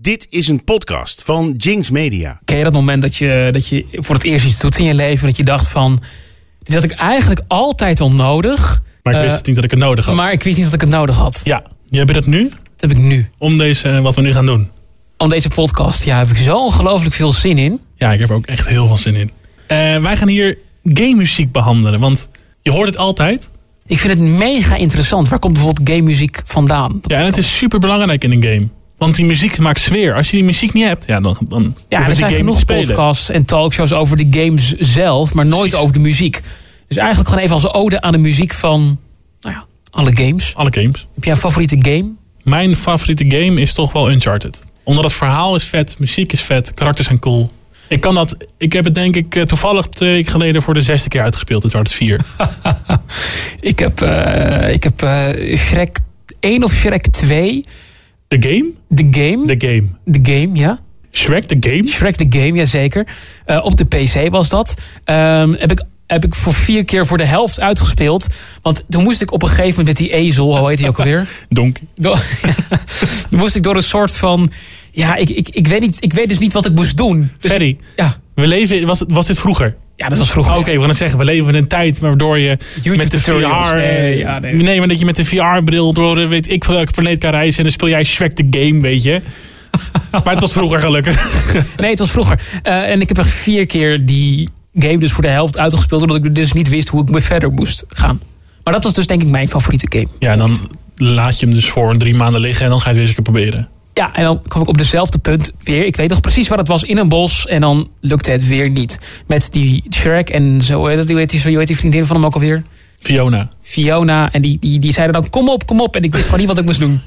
Dit is een podcast van Jinx Media. Ken je dat moment dat je, dat je voor het eerst iets doet in je leven... dat je dacht van, dit had ik eigenlijk altijd al nodig... Maar ik Eh, wist niet dat ik het nodig had. maar ik wist niet dat ik het nodig had. Ja, je hebt dat nu Dat heb ik nu. om deze, eh, wat we nu gaan doen. Om deze podcast ja, heb ik zo ongelooflijk veel zin in. Ja, ik heb er ook echt heel veel zin in. Eh, wij gaan hier game muziek behandelen, want je hoort het altijd. Ik vind het mega interessant. Waar komt bijvoorbeeld game muziek vandaan? Ja, en het is super belangrijk in een game. Want die muziek maakt sfeer. Als je die muziek niet hebt, ja, dan, dan Ja, er zijn genoeg podcasts en talkshows over de games zelf, maar nooit Precies. over de muziek. Dus eigenlijk gewoon even als ode aan de muziek van nou ja, alle games. Alle games. Heb jij een favoriete game? Mijn favoriete game is toch wel Uncharted. Omdat het verhaal is vet, muziek is vet, karakters zijn cool. Ik kan dat. Ik heb het denk ik eh, toevallig twee weken geleden voor de zesde keer uitgespeeld, Uncharted 4. Ik heb, eh, ik heb eh, Shrek 1 of Shrek 2. De game? De game. De game. De game, ja. Shrek, de game? Shrek the Game, jazeker. Eh op de PC was dat. Ehm, heb, ik, heb ik voor vier keer voor de helft uitgespeeld. Want toen moest ik op een gegeven moment met die ezel, hoe heet die ook alweer? Donkey. Door- toen moest ik door een soort van. Ja, ik, ik, ik, weet, niet, ik weet dus niet wat ik moest doen. Dus- Ferry, ja, we leven, was, het- was dit vroeger? ja, dat was vroeger. Oh, Oké, we gaan het zeggen, we leven in een tijd waardoor je met de VR... tutorials. Nee, ja, nee. nee. maar dat je met de VR-bril door eh, weet ik welke planeet kan reizen... en dan speel jij Shrek de game, weet je. maar het was vroeger gelukkig. Nee, het was vroeger. Eh, en ik heb echt vier keer die game dus voor de helft uitgespeeld. Omdat ik dus niet wist hoe ik me verder moest gaan. Maar dat was dus denk ik mijn favoriete game. Ja, en dan laat je hem dus voor drie maanden liggen en dan ga je het weer eens een keer proberen. Ja, en dan kwam ik op dezelfde punt weer. Ik weet nog precies waar het was, in een bos. En dan lukte het weer niet. Met die Shrek en zo. Hoe heet dat? Hoe heet die, hoe heet die vriendin van hem ook alweer? Fiona. Fiona. En die, die, die zeiden dan, kom op, kom op. En ik wist gewoon niet wat ik moest doen.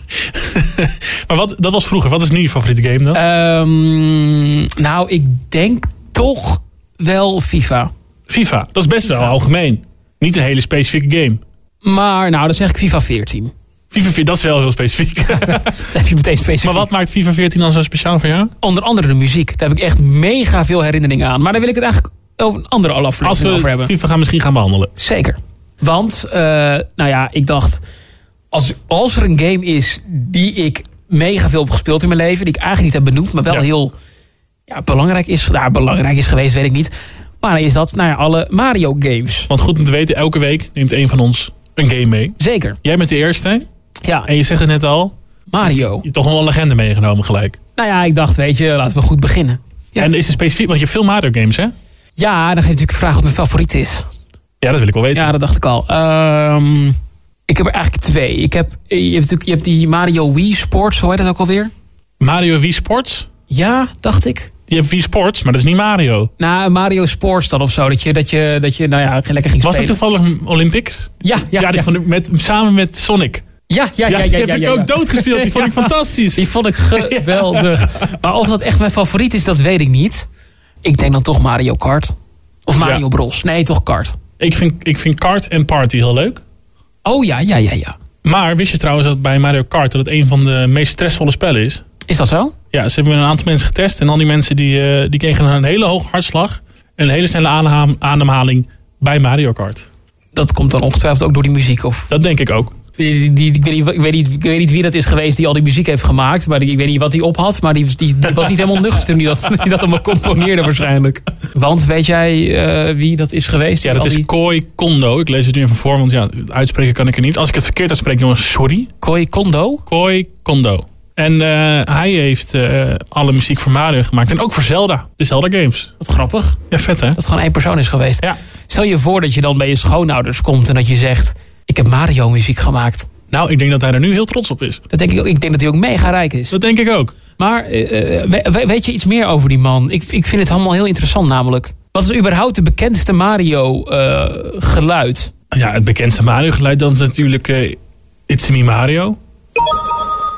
Maar wat, dat was vroeger. Wat is nu je favoriete game Eh, dan? Ehm, nou, ik denk toch wel FIFA. FIFA. Dat is best wel algemeen. Niet een hele specifieke game. Maar nou, dan zeg ik FIFA 14. FIFA 14, dat is wel heel specifiek. Dat heb je meteen specifiek. maar wat maakt FIFA 14 dan zo speciaal voor jou? Onder andere de muziek. Daar heb ik echt mega veel herinneringen aan. Maar daar wil ik het eigenlijk over een andere Als aflevering over we hebben. FIFA gaan misschien gaan behandelen. Zeker. Want, eh, nou ja, ik dacht... Als, als er een game is die ik mega veel heb gespeeld in mijn leven... die ik eigenlijk niet heb benoemd, maar wel Ja. heel ja, belangrijk is... Nou, belangrijk is geweest, weet ik niet. Maar dan is dat, nou ja, alle Mario games. Want goed om te weten, elke week neemt een van ons een game mee. Zeker. Jij bent de eerste. Ja, En je zegt het net al, Mario. je hebt toch wel een legende meegenomen gelijk. Nou ja, ik dacht, weet je, laten we goed beginnen. Ja. En is het specifiek, want je hebt veel Mario games hè? Ja, dan ga je natuurlijk vragen wat mijn favoriet is. Ja, dat wil ik wel weten. Ja, dat dacht ik al. Ehm, ik heb er eigenlijk twee. Ik heb, je, hebt natuurlijk, je hebt die Mario Wii Sports, hoe heet dat ook alweer? Mario Wii Sports? Ja, dacht ik. Je hebt Wii Sports, maar dat is niet Mario. Nou, Mario Sports dan of zo. Dat je, dat je, dat je nou ja, lekker ging Was dat spelen. toevallig Olympics? Ja, ja, ja. die Van, de- met, samen met Sonic. Ja, ja, ja, ja, die ja, heb ja, ik ja. ook doodgespeeld. Die vond ik Ja. fantastisch. Die vond ik geweldig. Maar of dat echt mijn favoriet is, dat weet ik niet. Ik denk dan toch Mario Kart. Of Mario Ja. Bros. Nee, toch Kart. Ik vind, ik vind kart en party heel leuk. Oh ja, ja, ja, ja. Maar wist je trouwens dat bij Mario Kart dat het een van de meest stressvolle spellen is? Is dat zo? Ja, ze hebben een aantal mensen getest. En al die mensen die, eh, die kregen een hele hoge hartslag. En een hele snelle aanha- ademhaling bij Mario Kart. Dat komt dan ongetwijfeld ook door die muziek. Of Dat denk ik ook. die, die, die- ik, weet niet, ik, weet niet, ik weet niet wie dat is geweest die al die muziek heeft gemaakt. Maar die- ik weet niet wat hij op had. Maar die, die, die was niet helemaal nuchter toen hij dat, die dat allemaal componeerde waarschijnlijk. Want weet jij eh, wie dat is geweest? Ja, die dat al is die- Koi Kondo. Ik lees het nu even voor, want ja, uitspreken kan ik er niet. Als ik het verkeerd uitspreek, jongens, sorry. Koi Kondo. Koi Kondo. En eh, hij heeft eh, alle muziek voor Mario gemaakt. En ook voor Zelda. De Zelda games. Wat grappig. Ja, vet hè? Dat het gewoon één persoon is geweest. Ja. Stel je voor dat je dan bij je schoonouders komt en dat je zegt... ik heb Mario muziek gemaakt. Nou, ik denk dat hij er nu heel trots op is. Dat denk ik, ook. ik denk dat hij ook mega rijk is. Dat denk ik ook. Maar eh, eh, we- we- weet je iets meer over die man? Ik, ik vind het allemaal heel interessant namelijk. Wat is überhaupt de bekendste Mario eh, geluid? Ja, het bekendste Mario-geluid dan is natuurlijk eh, It's Me Mario.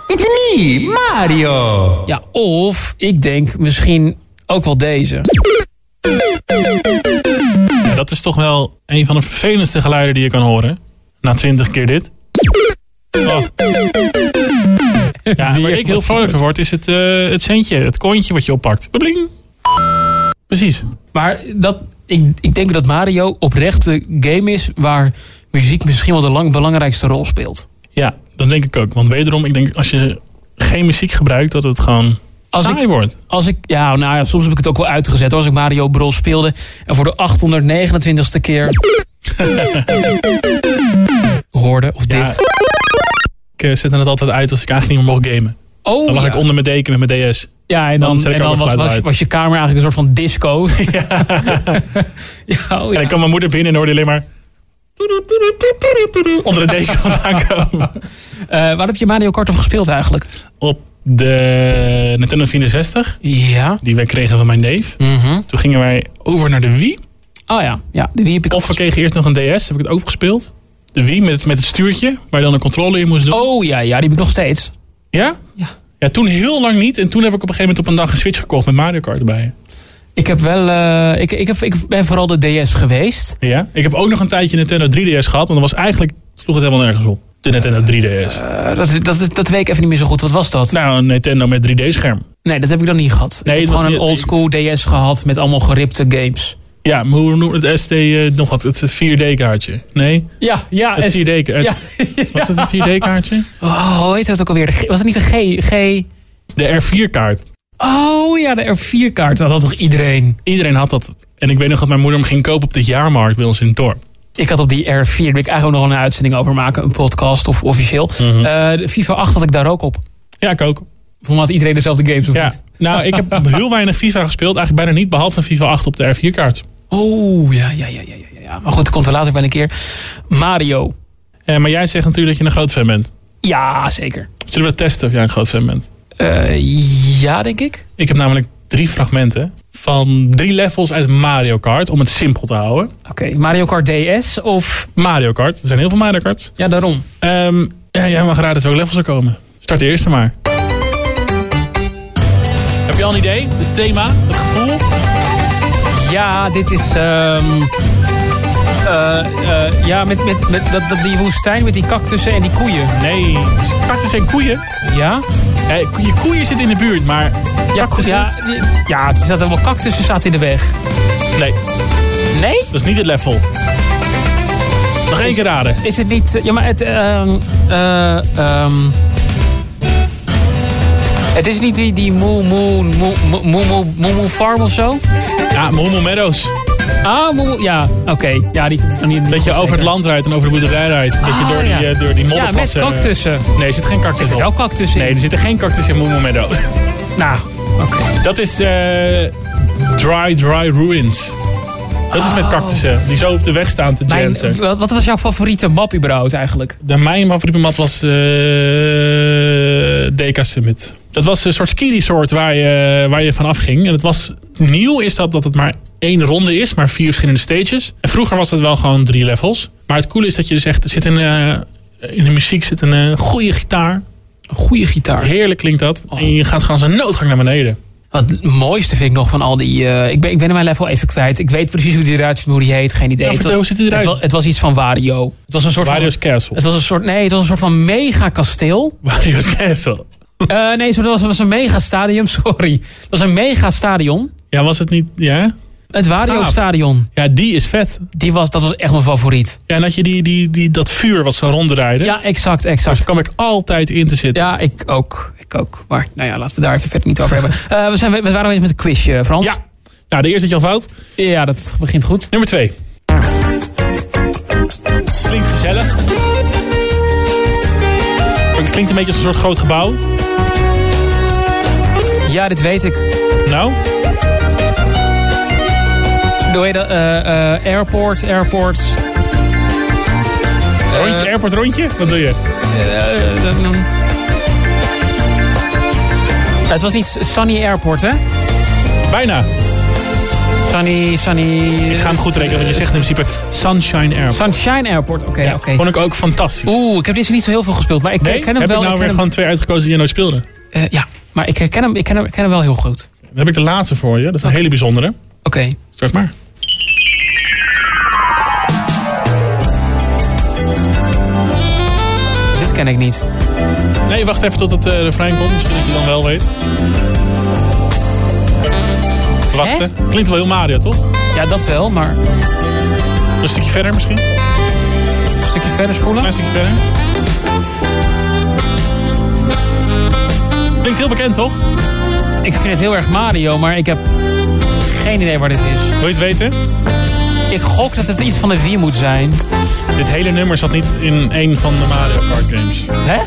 It's me, Mario! Ja, of ik denk misschien ook wel deze. Ja, dat is toch wel een van de vervelendste geluiden die je kan horen. Na twintig keer dit. Oh. Ja, en waar ik heel vrolijk van word is het, eh, het centje, het kontje wat je oppakt. Bling. Precies. Maar dat, ik, ik denk dat Mario oprecht de game is waar muziek misschien wel de lang, belangrijkste rol speelt. Ja, dat denk ik ook. Want wederom, ik denk als je geen muziek gebruikt, dat het gewoon als ik, saai wordt. als ik, ja, nou ja, soms heb ik het ook wel uitgezet hoor, als ik Mario Bros speelde. En voor de 829ste keer. hoorde of Ja. dit. Ik eh, zette het altijd uit als ik eigenlijk niet meer mocht gamen. Oh, Dan lag ja. ik onder mijn deken met mijn DS. Ja, en Dan dan, zet ik en dan ook het was, geluid was, uit. was je kamer eigenlijk een soort van disco. Ja, oh ja. En dan kwam mijn moeder binnen en hoorde alleen maar... Onder de deken vandaan komen. Eh, waar heb je Mario Kart op gespeeld eigenlijk? Op de Nintendo 64, Ja. die wij kregen van mijn neef. Mhm. Toen gingen wij over naar de Wii. Oh ja, ja die heb ik Of we kregen eerst nog een DS, heb ik het ook gespeeld. De Wii met, met het stuurtje, waar je dan een controle in moest doen. Oh ja, ja, die heb ik nog steeds. Ja? Ja. Ja, toen heel lang niet. En toen heb ik op een gegeven moment op een dag een Switch gekocht met Mario Kart erbij. Ik, heb wel, eh, ik, ik, heb, ik ben vooral de DS geweest. Ja. Ik heb ook nog een tijdje Nintendo 3DS gehad, want dat was eigenlijk, sloeg het helemaal nergens op. De Nintendo 3DS. Eh, dat, dat, dat weet ik even niet meer zo goed. Wat was dat? nou, een Nintendo met 3D-scherm. Nee, dat heb ik dan niet gehad. Nee, ik het heb was gewoon een niet- oldschool DS gehad met allemaal geripte games. Ja, maar hoe noemt het ST eh, nog wat? Het 4D-kaartje. Nee, Ja, ja. het 4D-kaartje. Was het een 4D-kaartje? Oh, hoe heet dat ook alweer? De G- Was het niet de G? G... De R4-kaart. Oh ja, de R4-kaart. Dat had toch iedereen? Iedereen had dat. En ik weet nog dat mijn moeder hem ging kopen op de jaarmarkt bij ons in het dorp. Ik had op die R4, daar wil ik eigenlijk ook nog een uitzending over maken. Een podcast of officieel. Mhm. Eh, de FIFA 8 had ik daar ook op. Ja, ik ook. Volgens mij had iedereen dezelfde games of Ja. niet? Nou, ik heb heel weinig FIFA gespeeld. Eigenlijk bijna niet, behalve FIFA 8 op de R4-kaart. Oh, ja, ja, ja, ja, ja, ja. Maar goed, dat komt er later wel een keer. Mario. Eh, maar jij zegt natuurlijk dat je een groot fan bent. Ja, zeker. Zullen we testen of jij een groot fan bent? Eh, ja, denk ik. Ik heb namelijk drie fragmenten van drie levels uit Mario Kart. Om het simpel te houden. Oké, Mario Kart DS of... Mario Kart. Er zijn heel veel Mario Karts. Ja, daarom. Ehm, ja, jij mag raden welke levels er komen. Start de eerste maar. Heb je al een idee? Het thema? Het gevoel? Ja, dit is... ehm, eh, eh, ja, met, met, met dat, dat, die woestijn met die cactussen en die koeien. Nee. Karten zijn koeien. Ja? Eh, ko- je koeien zitten in de buurt, maar... dus Ja, cactussen? ja, die- ja, het zat allemaal cactussen zaten in de weg. Nee, Nee? dat is niet het level. Nog één keer raden. Is het niet... eh, Ja, maar het... ehm, eh, ehm, het is niet die, die moe, moe, moe, moe, moe, moe, moe, moe farm of zo? Ja, Momo Meadows. Ah, moe, moe- ja, oké. Ja, die, die, die- Dat je over het land rijdt en over de boerderij rijdt. Dat je Ah, door die, ja. eh, door die Ja, met modderplassen... cactussen. Nee, er zit geen cactus Zit er op. wel cactus in? Nee, er zitten geen cactus in Momo Meadows. Nou, oké. Dat is eh, Dry Dry Ruins. Dat is met cactussen, die zo op de weg staan te Mijn- jansen. wat, wat was jouw favoriete map überhaupt eigenlijk? De mijn favoriete mat was eh DK Summit. Dat was een soort ski-resort waar je, waar je vanaf ging. En het was nieuw is dat, dat het maar één ronde is, maar vier verschillende stages. En vroeger was het wel gewoon drie levels. Maar het coole is dat je dus echt er zit een, eh, in de muziek zit een eh, goede gitaar. Een goede gitaar. Heerlijk klinkt dat. En je gaat gewoon zo'n noodgang naar beneden. Wat het mooiste vind ik nog van al die... eh, ik, ben, ik ben mijn level even kwijt. Ik weet precies hoe die eruit ziet, maar hoe die heet. Geen idee. Ja, Het vertel, was- hoe ziet die eruit? Het was, het was iets van Wario. Het was een soort van... Wario's Castle. Het was een soort, nee, het was een soort van mega kasteel. Wario's Castle. Eh, nee, het was, het was een mega stadion, sorry. Het was een mega stadion. Ja, was het niet? Ja? Het Wario Gaaf. stadion. Ja, die is vet. Die was, dat was echt mijn favoriet. Ja, en dat je die, die, die, dat vuur wat zo ronddraaide. Ja, exact, Daar exact. kwam ik altijd in te zitten. Ja, ik ook. Ik ook. Maar nou ja, laten we daar even verder niet over hebben. Eh, we, zijn, we waren eens met een quizje, Frans. Ja. Nou, de eerste had je al fout. ja, dat begint goed. Nummer twee. Klinkt gezellig. Het klinkt een beetje als een soort groot gebouw. Ja, dit weet ik. Nou, Doe je dat? eh, eh, airport, airport. rondje, Eh, airport rondje. Wat doe je? eh, eh, eh. Het was niet Sunny Airport, hè? Bijna. Sunny, Sunny... Ik ga hem goed rekenen, want je zegt in principe Sunshine Airport. Sunshine Airport, oké, Ja, eh, oké. Vond ik ook fantastisch. Oeh, ik heb deze niet zo heel veel gespeeld, maar ik nee, herken heb hem wel. ik nou ik weer ken gewoon twee uitgekozen die je nooit speelde. hem- eh, ja, maar ik herken hem, ik ken hem, ik ken hem wel heel goed. Dan heb ik de laatste voor je. Dat is een hele bijzondere. Oké. Start maar. Dit ken ik niet. Nee, wacht even tot het eh refrein komt. Misschien dat je dan wel weet. Wachten. Klinkt wel heel Mario, toch? Ja, dat wel, maar een Een stukje verder misschien? Een stukje verder spoelen. klein stukje verder. Klinkt heel bekend, toch? ik vind het heel erg Mario, maar ik heb geen idee waar dit is. Wil je het weten? Ik gok dat het iets van de Wii moet zijn. Dit hele nummer zat niet in een van de Mario Kart games. Hè?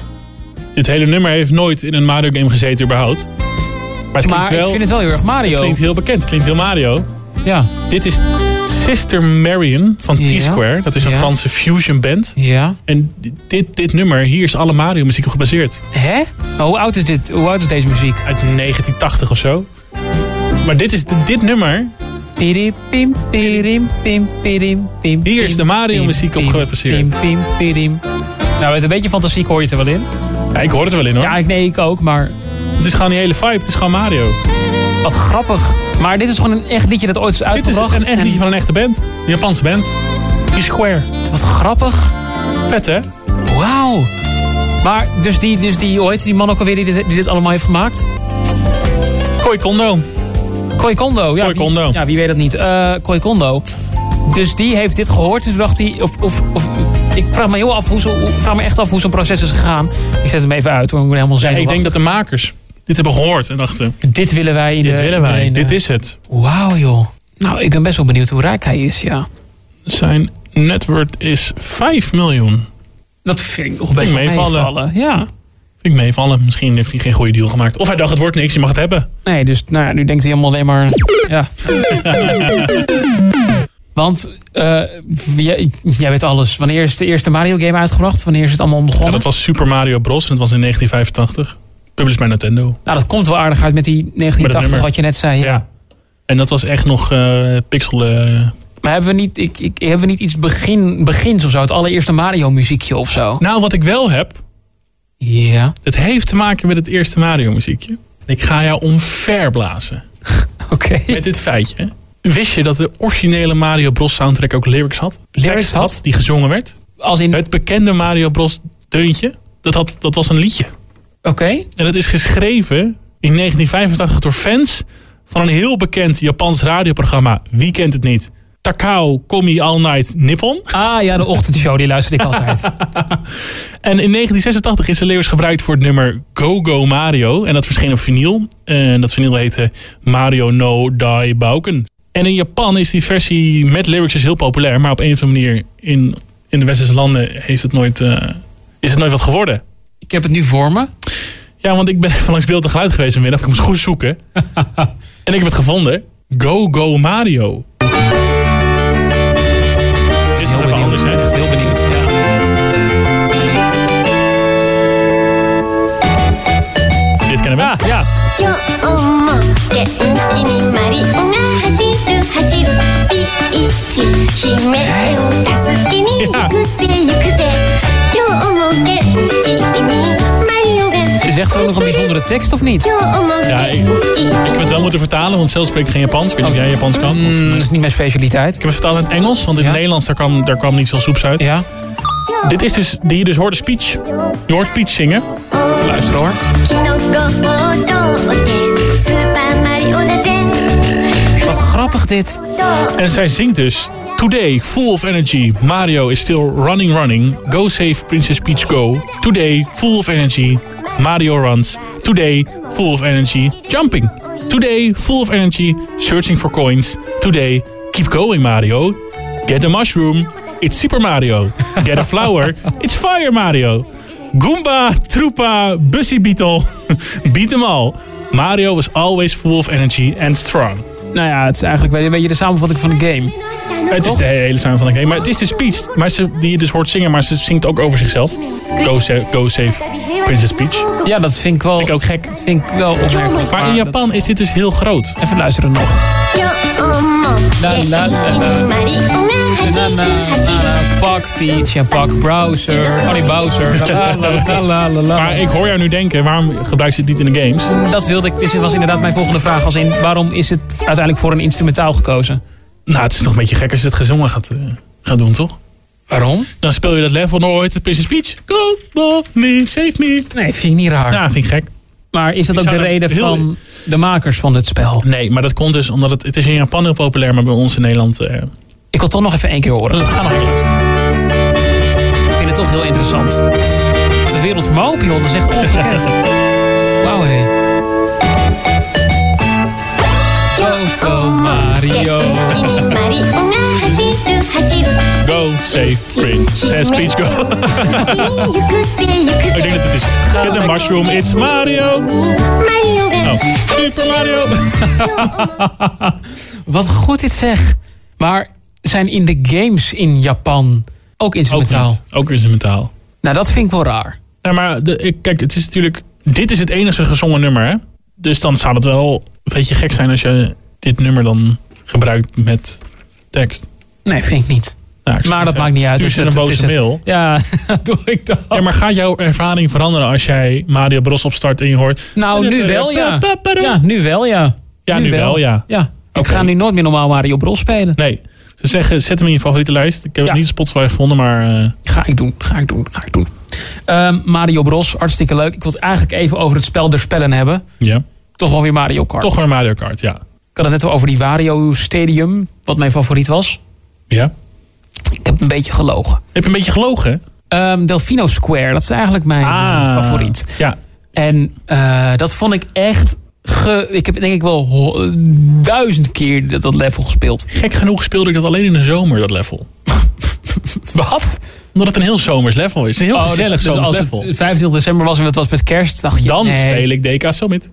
Dit hele nummer heeft nooit in een Mario game gezeten überhaupt. Maar het klinkt Maar ik wel vind het wel heel erg Mario. klinkt heel bekend. Het klinkt heel Mario. Ja. Dit is Sister Marion van Ja. T-Square. Dat is een Ja. Franse fusion band. Ja. En dit, dit nummer, hier is alle Mario muziek op gebaseerd. Hè? Maar hoe oud is dit? Hoe oud is deze muziek? Uit 1980 of zo. Maar dit, is, dit nummer, Pirim, pim, pirim, pim, pirim, pim, Hier is pim, de Mario pim, muziek op pim, gebaseerd. Pim, pim, pirim. Nou, met een beetje fantasie hoor je het er wel in. ja, ik hoor het er wel in hoor. Ja, ik, nee, ik ook, maar Het is gewoon die hele vibe, het is gewoon Mario. wat grappig. Maar dit is gewoon een echt liedje dat ooit is Dit is uitgebracht. een echt en liedje van een echte band. Een Japanse band. T-Square. Wat grappig. Vet hè? Wauw. Maar, dus die, dus die, hoe heet die man ook alweer die dit, die dit allemaal heeft gemaakt? Koi Kondo. Koi Kondo. Ja, Koi wie- Kondo. ja, wie weet dat niet. Eh Koi Kondo. Dus die heeft dit gehoord. Dus dacht hij... Of, of, of- ik vraag me heel af hoe zo, ik vraag me echt af hoe zo'n proces is gegaan. Ik zet hem even uit, want ik moet helemaal zijn. ik denk dat de makers dit hebben gehoord en dachten, Dit willen wij in dit de... willen wij, in de- dit is het. Wauw, joh. Nou, ik ben best wel benieuwd hoe rijk hij is, ja. Zijn net worth is 5 miljoen. Dat vind ik nog best Vind wel ik meevallen. meevallen. Ja. Vind ik meevallen. Misschien heeft hij geen goede deal gemaakt. Of hij dacht, het wordt niks, je mag het hebben. Nee, dus nou ja, nu denkt hij helemaal alleen maar... Ja. Want eh, jij, jij weet alles. Wanneer is de eerste Mario game uitgebracht? Wanneer is het allemaal Ja, begonnen? dat was Super Mario Bros. en dat was in 1985. Published bij Nintendo. Nou, dat komt wel aardig uit met die Met dat 1980 nummer. wat je net zei. Ja. En dat was echt nog eh, pixel... eh, Maar hebben we niet, ik, ik, hebben we niet iets begin, begins of zo? Het allereerste Mario muziekje of zo? Nou, wat ik wel heb, Ja, dat heeft te maken met het eerste Mario muziekje. Ik ga jou omver blazen. oké. Met dit feitje. Wist je dat de originele Mario Bros soundtrack ook lyrics had? Lyrics Tekst had? Die gezongen werd. Als in, oké. Het bekende Mario Bros deuntje, dat, had, dat was een liedje. En dat is geschreven in 1985 door fans van een heel bekend Japans radioprogramma. Wie kent het niet? Takao Komi All Night Nippon. Ah ja, de ochtendshow, die luister ik altijd. En in 1986 is de lyrics gebruikt voor het nummer Go Go Mario. En dat verscheen op vinyl. En dat vinyl heette Mario No Die Bauken. En in Japan is die versie met lyrics dus heel populair. Maar op een of andere manier in, in de westerse landen heeft het nooit, eh, is het nooit wat geworden. Ik heb het nu voor me. Ja, want ik ben even langs beeld en geluid geweest vanmiddag. Ik moest goed zoeken. en ik heb het gevonden. Go Go Mario. Is het even anders, hè? Echt heel benieuwd, ja. Dit kennen we. ja. 今日も元気にマリオが走る走るピーチ姫を助けに行くぜ行くぜ今日も元気にマリオが Zegt ze ook nog een bijzondere tekst of niet? 今日も Ja, ik- 元気に Ik heb het wel moeten vertalen, want zelf spreek ik geen Japans. Ik weet niet of jij Japans kan. Of, Mm, dat is niet mijn specialiteit. Ik heb het vertaald in het Engels, want in Ja. het Nederlands daar kwam, daar kwam niet veel soeps uit. Ja, Dit is dus, die je dus hoorde speech. Je hoort Peach zingen. luister hoor. キノコを通ってスーパーマリオだぜ Wat grappig dit. En zij zingt dus... Today, full of energy, Mario is still running running. Go save Princess Peach, go. Today, full of energy, Mario runs. Today, full of energy, jumping. Today, full of energy, searching for coins. Today, keep going, Mario. Get a mushroom, it's Super Mario. Get a flower, it's Fire Mario. Goomba, Troopa, Busy Beetle, beat them all. Mario was always full of energy and strong. Nou ja, het is eigenlijk wel een beetje de samenvatting van de game. Het is de hele samen van de game. Maar het is de speech maar ze, die je dus hoort zingen, maar ze zingt ook over zichzelf. Go, sa- go save Princess Peach. Ja, dat vind ik wel... Vind ik ook gek. Dat vind ik wel opmerkelijk. Maar in dat- Japan is dit dus heel groot. Even luisteren nog. 今日も La la la la. マリオが走 Na, na, る na, 走る na. Pak Peach en pak Browser. Oh nee, Bowser. La, la, la, la, la, la. Maar ik hoor jou nu denken, waarom gebruikt ze het niet in de games? Dat wilde ik, dit was inderdaad mijn volgende vraag. Als in, waarom is het uiteindelijk voor een instrumentaal gekozen? Nou, het is toch een beetje gek als je het gezongen gaat, eh, gaat doen, toch? Waarom? Dan speel je dat level nooit, het Princess Peach. Go, love me, save me. Nee, vind ik niet raar. Ja, vind ik gek. maar is Nou, dat ik ook de zou er reden heel- van de makers van het spel? Nee, maar dat komt dus omdat het, het is in Japan heel populair, maar bij ons in Nederland... eh, Ik wil toch nog even één keer horen. we gaan nog even luisteren. Ik vind het toch heel interessant. De wereld van Mopio, dat is echt ongekend. Wauw, hé. Mario. 一にマリオが走る走る Go, save, princess Peach, go. 行くぜ行く Ik ぜ denk dat het is. Get the mushroom, it's Mario. マリオが Oh, Super Mario. Wat goed dit zeg. Maar zijn in de games in Japan ook Ook instrumentaal? niet. Ook instrumentaal. nou, dat vind ik wel raar. Ja, maar de, ik- kijk, het is natuurlijk... Dit is het enige gezongen nummer, hè? Dus dan zou het wel een beetje gek zijn als je dit nummer dan gebruikt met tekst. Nee, vind ik niet. Nou, ik zou Maar dat zeggen, maakt niet uit. Stuur Het ze is het- een boze het is het. mail. Ja, doe ik dat. Ja, maar gaat jouw ervaring veranderen als jij Mario Bros opstart en je hoort... Nou, nu wel ja. Ja, nu wel ja. Ja, nu wel, ja. ja. Ik Oké. ga nu nooit meer normaal Mario Bros spelen. Nee, ze zeggen zet hem in je favoriete lijst. Ik heb Ja. het niet op Spotify gevonden, maar... eh, Ga ik doen, ga ik doen, ga ik doen. Ehm, Mario Bros, hartstikke leuk. Ik wil het eigenlijk even over het spel der spellen hebben. ja. Toch wel weer Mario Kart. Toch weer Mario Kart, ja. Ik had het net al over die Wario Stadium, wat mijn favoriet was. Ja. Ik heb een beetje gelogen. Heb je een beetje gelogen, hè? Ehm, Delfino Square, dat is eigenlijk mijn eh, Ah. favoriet. Ja. En eh, dat vond ik echt... Ge ik heb denk ik wel ho- duizend keer dat, dat level gespeeld. Gek genoeg speelde ik dat alleen in de zomer, dat level. Wat? Omdat het een heel zomers level is. Oh, Het is Een heel gezellig dus, dus zomers als het level. 25 december was en het was met kerst, dacht je... Dan nee. speel ik DK Summit.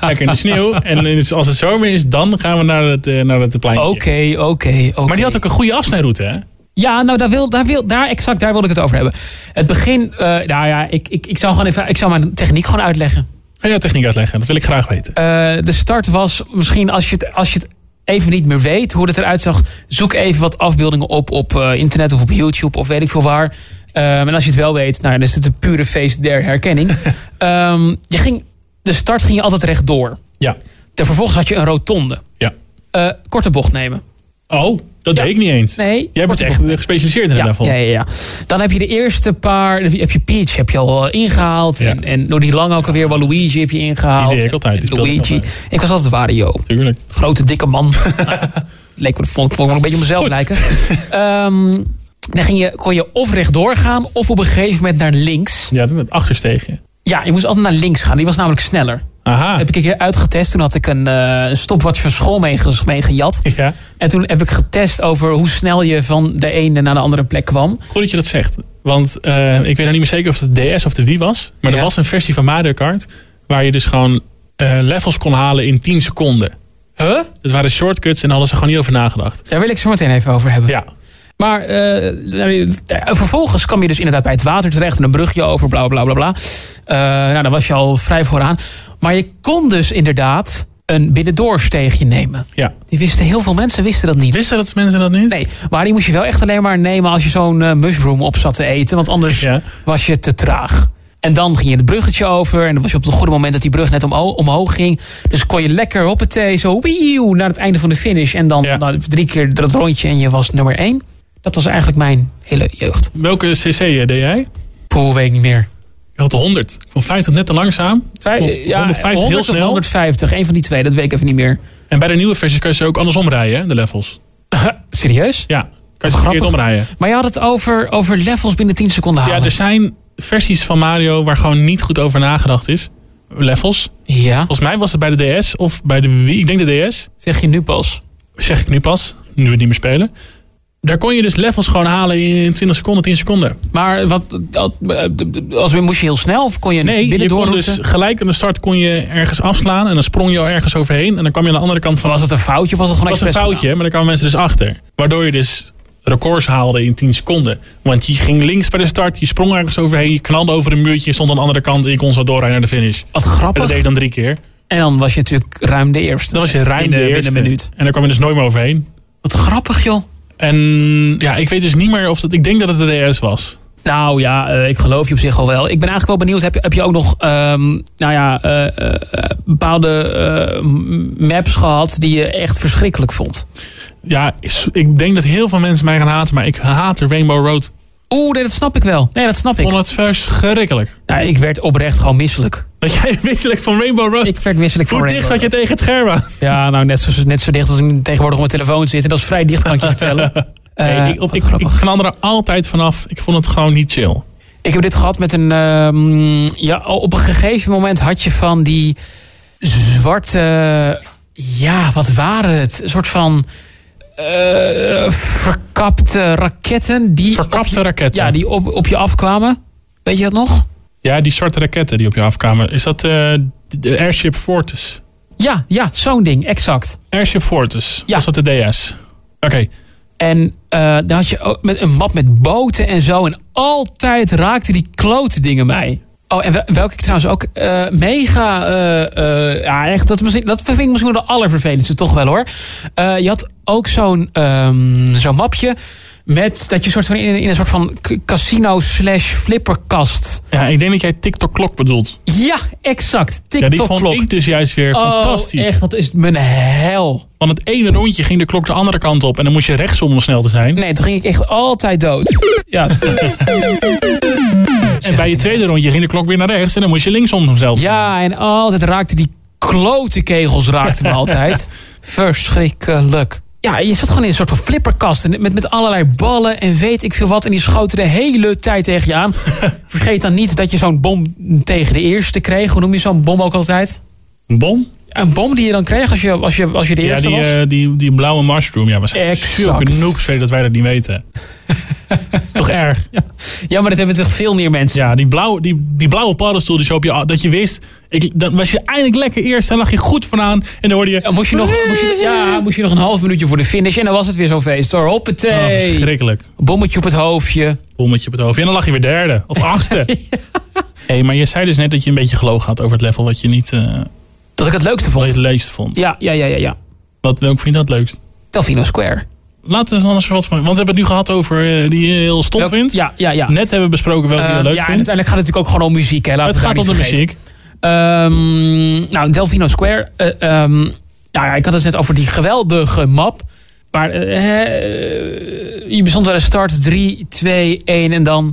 Lekker in de sneeuw. En in- als het zomer is, dan gaan we naar het, eh, naar het pleintje. Oké, oké, oké. Maar die had ook een goede afsnijroute, hè? Ja, nou, daar, wil, daar, wil, daar, exact, daar wilde ik het over hebben. Het begin, eh, nou ja, ik, ik, ik, zou gewoon even, ik zou mijn techniek gewoon uitleggen. Ga jouw techniek uitleggen, dat wil ik graag weten. Eh, de start was misschien als je, het, als je het even niet meer weet hoe het eruit zag. Zoek even wat afbeeldingen op op eh, internet of op YouTube of weet ik veel waar. Ehm, en als je het wel weet, nou, dan is het een pure feest der herkenning. Ehm, je ging, de start ging je altijd rechtdoor. Ja. Ter vervolgens had je een rotonde. ja. Eh, korte bocht nemen. Oh, dat Ja. deed ik niet eens. Nee, Jij bent korte echt eh, gespecialiseerd in het level. Ja, ja, ja. Dan heb je de eerste paar. dan Heb je Peach heb je al eh, ingehaald. Ja. En, en door die lang ook alweer. Waluigi heb je ingehaald. Die deed ik altijd, die En speelde ik Luigi. altijd. Ik was altijd Wario. Tuurlijk. Grote, dikke man. Nou, Leek me, vond, vond ik me een beetje op mezelf Goed. lijken. Ehm, dan ging je, kon je of rechtdoor gaan. of op een gegeven moment naar links. Ja, met achtersteegje. Ja, je moest altijd naar links gaan. Die was namelijk sneller. Aha. Heb ik een keer uitgetest. Toen had ik een, eh, een stopwatch van school meege- meegejat. Ja. En toen heb ik getest over hoe snel je van de ene naar de andere plek kwam. Goed dat je dat zegt. Want eh, ik weet nou niet meer zeker of het de DS of de Wii was. Maar Ja. er was een versie van Mario Kart. Waar je dus gewoon eh, levels kon halen in 10 seconden. Huh? Het waren shortcuts en daar hadden ze gewoon niet over nagedacht. Daar wil ik zo meteen even over hebben. Ja. Maar eh, nou, eh, vervolgens kwam je dus inderdaad bij het water terecht en een brugje over, bla bla bla bla. Eh, nou, dan was je al vrij vooraan. Maar je kon dus inderdaad een binnendoorsteegje nemen. ja. Die wisten, heel veel mensen wisten dat niet. Wisten dat mensen dat niet? Nee, maar die moest je wel echt alleen maar nemen als je zo'n eh, mushroom op zat te eten. Want anders Ja. was je te traag. En dan ging je het bruggetje over. En dan was je op het goede moment dat die brug net omho- omhoog ging. Dus kon je lekker hoppatee zo wieuw, naar het einde van de finish. En dan Ja. nou, drie keer dat rondje en je was nummer één. Dat was eigenlijk mijn hele jeugd. Welke CC deed jij? Poeh, weet ik niet meer. Ik had de 100. Ik vond 50 net te langzaam. Vij- Vond ja, 150 heel 100 of snel. 150, een van die twee, dat weet ik even niet meer. En bij de nieuwe versies kun je ze ook andersom rijden, hè, de levels. Serieus? Ja, kan je ze Grappig. verkeerd omrijden. Maar je had het over, over levels binnen 10 seconden Ja, dus- halen. er zijn versies van Mario waar gewoon niet goed over nagedacht is. Levels. ja, Volgens mij was het bij de DS of bij de Wii. Ik denk de DS. zeg je nu pas. Zeg ik nu pas, nu we het niet meer spelen. Daar kon je dus levels gewoon halen in 20 seconden, 10 seconden. Maar wat, dat- eh, als we, moest je heel snel of kon je Nee, je binnendoor kon dus routen? gelijk aan de start kon je ergens afslaan. En dan sprong je al ergens overheen. En dan kwam je aan de andere kant van... Was het een foutje of was het gewoon Dat was een expres foutje, maar daar kwamen mensen dus achter. Waardoor je dus records haalde in 10 seconden. Want je ging links bij de start, je sprong ergens overheen, je knalde over een muurtje, je stond aan de andere kant en je kon zo doorrijden naar de finish. En Wat grappig. dat deed je dan drie keer. En dan was je natuurlijk ruim de eerste. Dan was je ruim binnen, de eerste. binnen een minuut. En daar kwam je dus nooit meer overheen. Wat grappig, joh. En ja, ik weet dus niet meer of dat... Ik denk dat het de DS was. Nou ja, eh, ik geloof je op zich al wel. Ik ben eigenlijk wel benieuwd. Heb je, heb je ook nog ehm, nou ja, eh, eh, eh, bepaalde eh, m- maps gehad die je echt verschrikkelijk vond? Ja, is- ik denk dat heel veel mensen mij gaan haten, maar ik haat de Rainbow Road. Oeh, nee, dat snap ik wel. Nee, dat snap Ik vond ik. het verschrikkelijk. Nou, ik werd oprecht gewoon misselijk. Dat jij wisselijk van Rainbow Road... Ik werd misselijk Hoe voor dicht zat je tegen het scherm aan? Ja, nou net zo, net zo dicht als ik tegenwoordig op mijn telefoon zit. En dat is vrij dicht, kan ik je vertellen. Eh, Nee, ik, wat ik, ik, grappig. knalde er altijd vanaf. Ik vond het gewoon niet chill. Ik heb dit gehad met een. ehm, ja, op een gegeven moment had je van die zwarte. Ja, wat waren het? Een soort van eh, verkapte raketten. Die op Verkapte je- raketten. Ja, die op, op je afkwamen. Weet je dat nog? Ja, die zwarte raketten die op je afkwamen. Is dat eh, de Airship Fortress? Ja, ja, zo'n ding, exact. Airship Fortress. Ja. Was dat de DS? Oké. En eh daar had je ook met een map met boten en zo. En altijd raakten die klote dingen mij. Oh, en wel- welke ik trouwens ook eh, mega... eh, eh, ja, echt, dat, is misschien- dat vind ik misschien wel de allervervelendste toch wel hoor. Eh, je had ook zo'n ehm, zo'n mapje met dat je soort van in, in een soort van k- casino slash flipperkast. Ja, ik denk dat jij TikTok klok bedoelt. Ja, exact. Ja, die vond TikTok-klok. ik dus juist weer fantastisch. Oh, echt, dat is mijn hel. Van het ene rondje ging de klok de andere kant op. En dan moest je rechtsom om snel te zijn. Nee, toen ging ik echt altijd dood. Ja, en bij je tweede rondje ging de klok weer naar rechts. En dan moest je linksom om zelf. Ja, en altijd raakte die klote kegels raakten me altijd. Verschrikkelijk. Ja, je zat gewoon in een soort van flipperkast en met, met allerlei ballen en weet ik veel wat. En die schoten de hele tijd tegen je aan. Vergeet dan niet dat je zo'n bom tegen de eerste kreeg. Hoe noem je zo'n bom ook altijd? Een bom? Een bom die je dan kreeg als je, als je, als je de Ja, eerste die, was? eh, die, die blauwe mushroom. Ja, was echt Exact. zulke noobs weet je dat wij dat niet weten. is toch erg? Ja, maar dat hebben toch veel meer mensen. Ja, die blauwe, die, die blauwe paddenstoel die zo op je... Dat je wist, ik, dan was je eindelijk lekker eerst. Dan lag je goed vooraan. En dan hoorde je... Dan moest je, nog, moest, je, ja, moest je nog een half minuutje voor de finish en dan was het weer zo'n feest hoor. Oh, Hoppatee. verschrikkelijk. Bommetje op het hoofdje. bommetje op het hoofd. En dan lag je weer derde of achtste. hey, maar je zei dus net dat je een beetje gelogen had over het level wat je niet eh, Dat ik het leukste wat je vond. het leukst vond. Ja, ja, ja, ja. ja. Wat, welk vond je dat leukst? Delfino Square. Laten we anders wat van. Want we hebben het nu gehad over eh, die je heel stom Welk- vindt. Ja, ja, ja. Net hebben we besproken welke Ehm, je leuk ja, en vindt. uiteindelijk gaat het natuurlijk ook gewoon om muziek. Hè. Laten Het we gaat daar om de niet vergeten. muziek. Ehm, nou, Delfino Square. eh, ehm, nou ja, ik had het net over die geweldige map. Maar eh, hè, eh, je bestond wel eens start 3, 2, 1 en dan...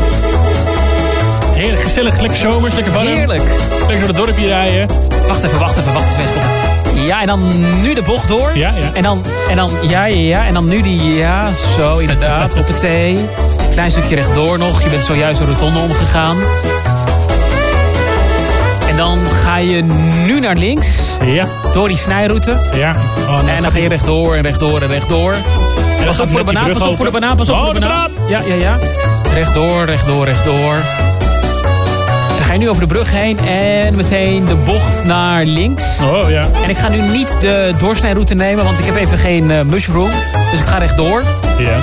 Heerlijk gezellig, lekker zomers, lekker warm. Heerlijk. Lekker door het dorpje rijden. Wacht even, wacht even, wacht even. twee seconden. Ja, en dan nu de bocht door. Ja, ja. En dan, en dan, ja, ja, ja. En dan nu die, ja, zo, inderdaad, op het Klein stukje rechtdoor nog. Je bent zojuist de rotonde omgegaan. En dan ga je nu naar links, Ja, door die snijroute. ja. Oh, En dan ga je rechtdoor en rechtdoor en rechtdoor. Pas op voor de banaan, pas op voor de banaan, pas op oh, voor de banaan. Ja, ja, ja. Rechtdoor, rechtdoor, rechtdoor. En dan ga je nu over de brug heen en meteen de bocht naar links. Oh ja. En ik ga nu niet de doorsnijroute nemen, want ik heb even geen eh, mushroom. Dus ik ga rechtdoor. ja.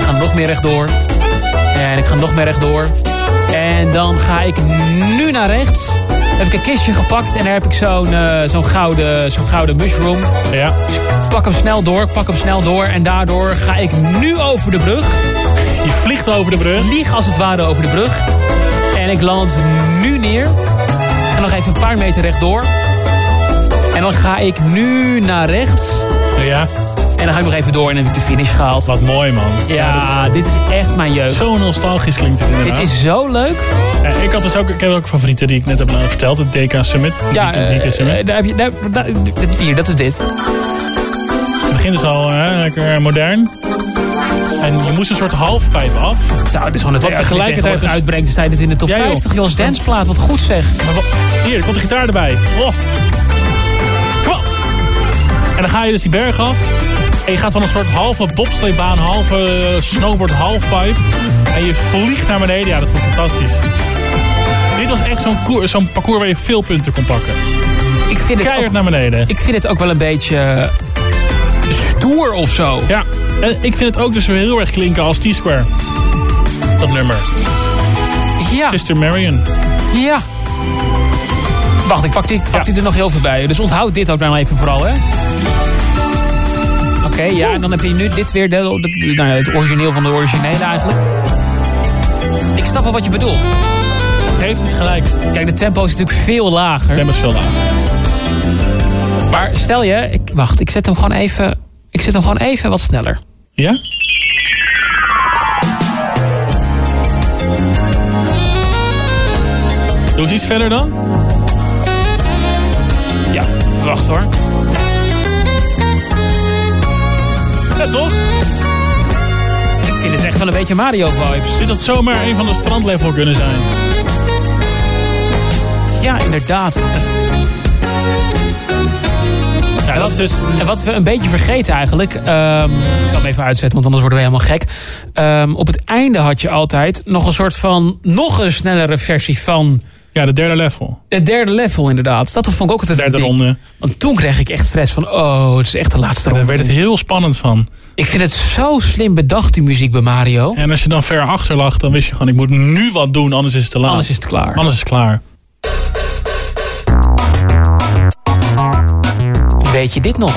Ik ga nog meer rechtdoor. En ik ga nog meer rechtdoor. En dan ga ik nu naar rechts. Dan heb ik een kistje gepakt en daar heb ik zo'n eh, zo'n gouden, zo'n gouden mushroom. Ja. Dus ik pak hem snel door, ik pak hem snel door. En daardoor ga ik nu over de brug. Je vliegt over de brug. Vlieg als het ware over de brug. En ik land nu neer. En nog even een paar meter rechtdoor. En dan ga ik nu naar rechts. Ja. En dan ga ik nog even door en heb ik de finish gehaald. Wat mooi man. Ja, dit is echt mijn jeugd. Zo nostalgisch klinkt het inderdaad. Dit is zo leuk. Ja, ik, had dus ook, ik heb ook favorieten die ik net heb eh, verteld. Het DK Summit. Ja, Het DK eh, Summit. daar heb je, daar, daar- hier, dat is dit. Het begint dus al eh, lekker modern. En je moest een soort halfpijp af. Zo, dit is gewoon het Wat ergste dit tegelijkertijd tegenwoordig is- uitbrengt. Dan sta je dit in de top Ja, joh. 50. Joh, als danceplaat, wat goed zeg. Maar wa- Hier, er komt de gitaar erbij. Oh. Kom op. En dan ga je dus die berg af. En je gaat van een soort halve bobsleebaan, halve eh, snowboard, halfpipe. En je vliegt naar beneden. Ja, dat vond ik fantastisch. Dit was echt zo'n koer- zo'n parcours waar je veel punten kon pakken. Ik vind het ook Keihard naar beneden. Ik vind het ook wel een beetje eh, stoer of zo. Ja, en ik vind het ook dus weer heel erg klinken als T-Square. Dat nummer. Ja, Sister Marion. ja. Wacht, ik pak die, pak Ja. die er nog heel veel bij. Dus onthoud dit ook nou even vooral, hè. Oké, ja, en dan heb je nu dit weer, de, de- nou ja, het origineel van de originele eigenlijk. Ik snap wel wat je bedoelt. Het heeft iets gelijks. Kijk, de tempo is natuurlijk veel lager. Tempus veel lager. Maar stel je, ik, wacht, ik zet hem gewoon even, ik zet hem gewoon even wat sneller. Ja? Doe het iets verder dan? Ja, wacht hoor. Ja, toch? Ik vind het echt wel een beetje Mario vibes. Dit had zomaar een van de strandlevel kunnen zijn. Ja, inderdaad. En Ja, dat is dus... En wat we een beetje vergeten eigenlijk. ehm, ik zal hem even uitzetten, want anders worden we helemaal gek. Ehm, op het einde had je altijd nog een soort van. nog een snellere versie van. Ja, de derde level. Het derde level, inderdaad. Dat vond ik ook altijd een Derde ding. ronde. Want toen kreeg ik echt stress van. Oh, het is echt de laatste Daar ronde. werd het heel spannend van. Ik vind het zo slim bedacht, die muziek bij Mario. En als je dan ver achter lag, dan wist je gewoon... ik moet nu wat doen, anders is het te laat. Anders is het klaar. Anders is het klaar. Weet je dit nog?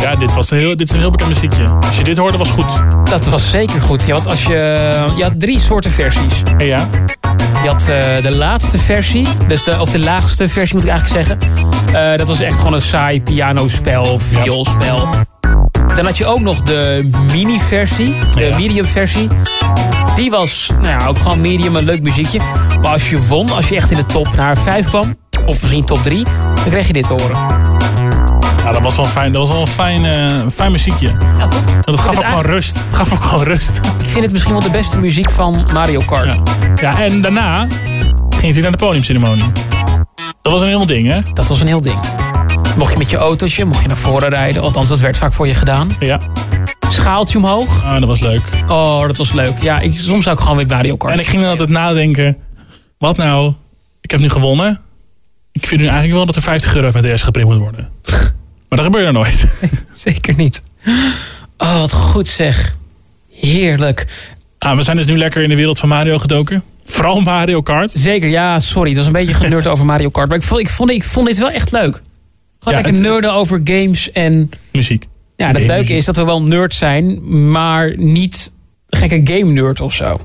Ja, dit, was een heel, dit is een heel bekend muziekje. Als je dit hoorde, was het goed. Dat was zeker goed. Je had, als je, je had drie soorten versies. En ja, Je had eh, de laatste versie, dus de, of de laagste versie moet ik eigenlijk zeggen. Eh, dat was echt gewoon een saai pianospel, vioolspel. Dan had je ook nog de mini-versie, de Ja. medium-versie. Die was nou ja, ook gewoon medium, een leuk muziekje. Maar als je won, als je echt in de top naar 5 kwam, of misschien top 3, dan kreeg je dit te horen. ja dat was wel een fijn, dat was wel een fijn, eh, fijn muziekje. Ja, toch? En dat gaf Het ook gewoon eigen- rust. Het gaf ook gewoon rust. Ik vind het misschien wel de beste muziek van Mario Kart. Ja, ja en daarna ging je natuurlijk naar de podiumceremonie. Dat was een heel ding, hè? Dat was een heel ding. Mocht je met je autootje, mocht je naar voren rijden. Althans, dat werd vaak voor je gedaan. Ja, Schaaltje omhoog. ah, dat was leuk. Oh, dat was leuk. Ja, ik, soms zou ik gewoon weer Mario Kart. En ik ging dan altijd nadenken. Wat nou? Ik heb nu gewonnen. Ik vind nu eigenlijk wel dat er 50 euro met de S geprint moet worden. Maar dat gebeurde nooit. Zeker niet. Oh, wat goed zeg. Heerlijk. Ah, we zijn dus nu lekker in de wereld van Mario gedoken. Vooral Mario Kart. Zeker, ja, sorry. Het was een beetje generd over Mario Kart. Maar ik vond, ik, vond, ik vond dit wel echt leuk. Gewoon lekker het- nerden over games. En Muziek. ja, het Game leuke muziek. is dat we wel nerd zijn, maar niet gekke game nerd of zo.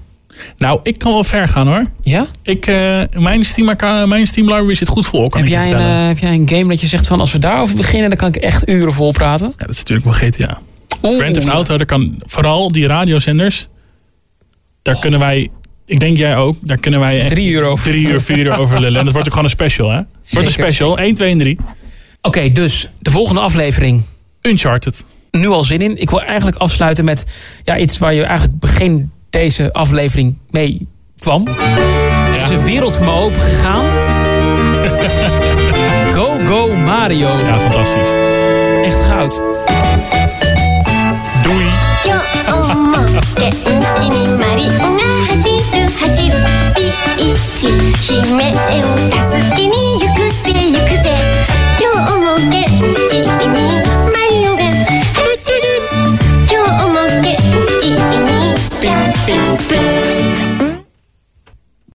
Nou, ik kan wel ver gaan hoor. Ja? Ik, eh, mijn, Steam, account- mijn Steam library zit goed vol. Kan Heb ik je jij, een, vertellen. eh, heb jij een game dat je zegt van als we daarover beginnen, dan kan ik echt uren vol praten? Ja, dat is natuurlijk wel GTA. Oeh. Grand Theft Auto, daar kan vooral die radiozenders. Daar kunnen wij, ik denk jij ook, daar kunnen wij echt Drie uur over. drie uur, vier uur over lullen. En dat wordt ook gewoon een special, hè? Het wordt een Zeker. special, 1, 2 en 3. Oké, dus de volgende aflevering. Uncharted. Nu al zin in. Ik wil eigenlijk afsluiten met ja, iets waar je eigenlijk begin deze aflevering mee kwam. Er is een wereld voor me open gegaan. go, go Mario. Ja, fantastisch. Echt goud. Doei. 今日も元気にマリオが走る走るビーチ悲鳴を助けに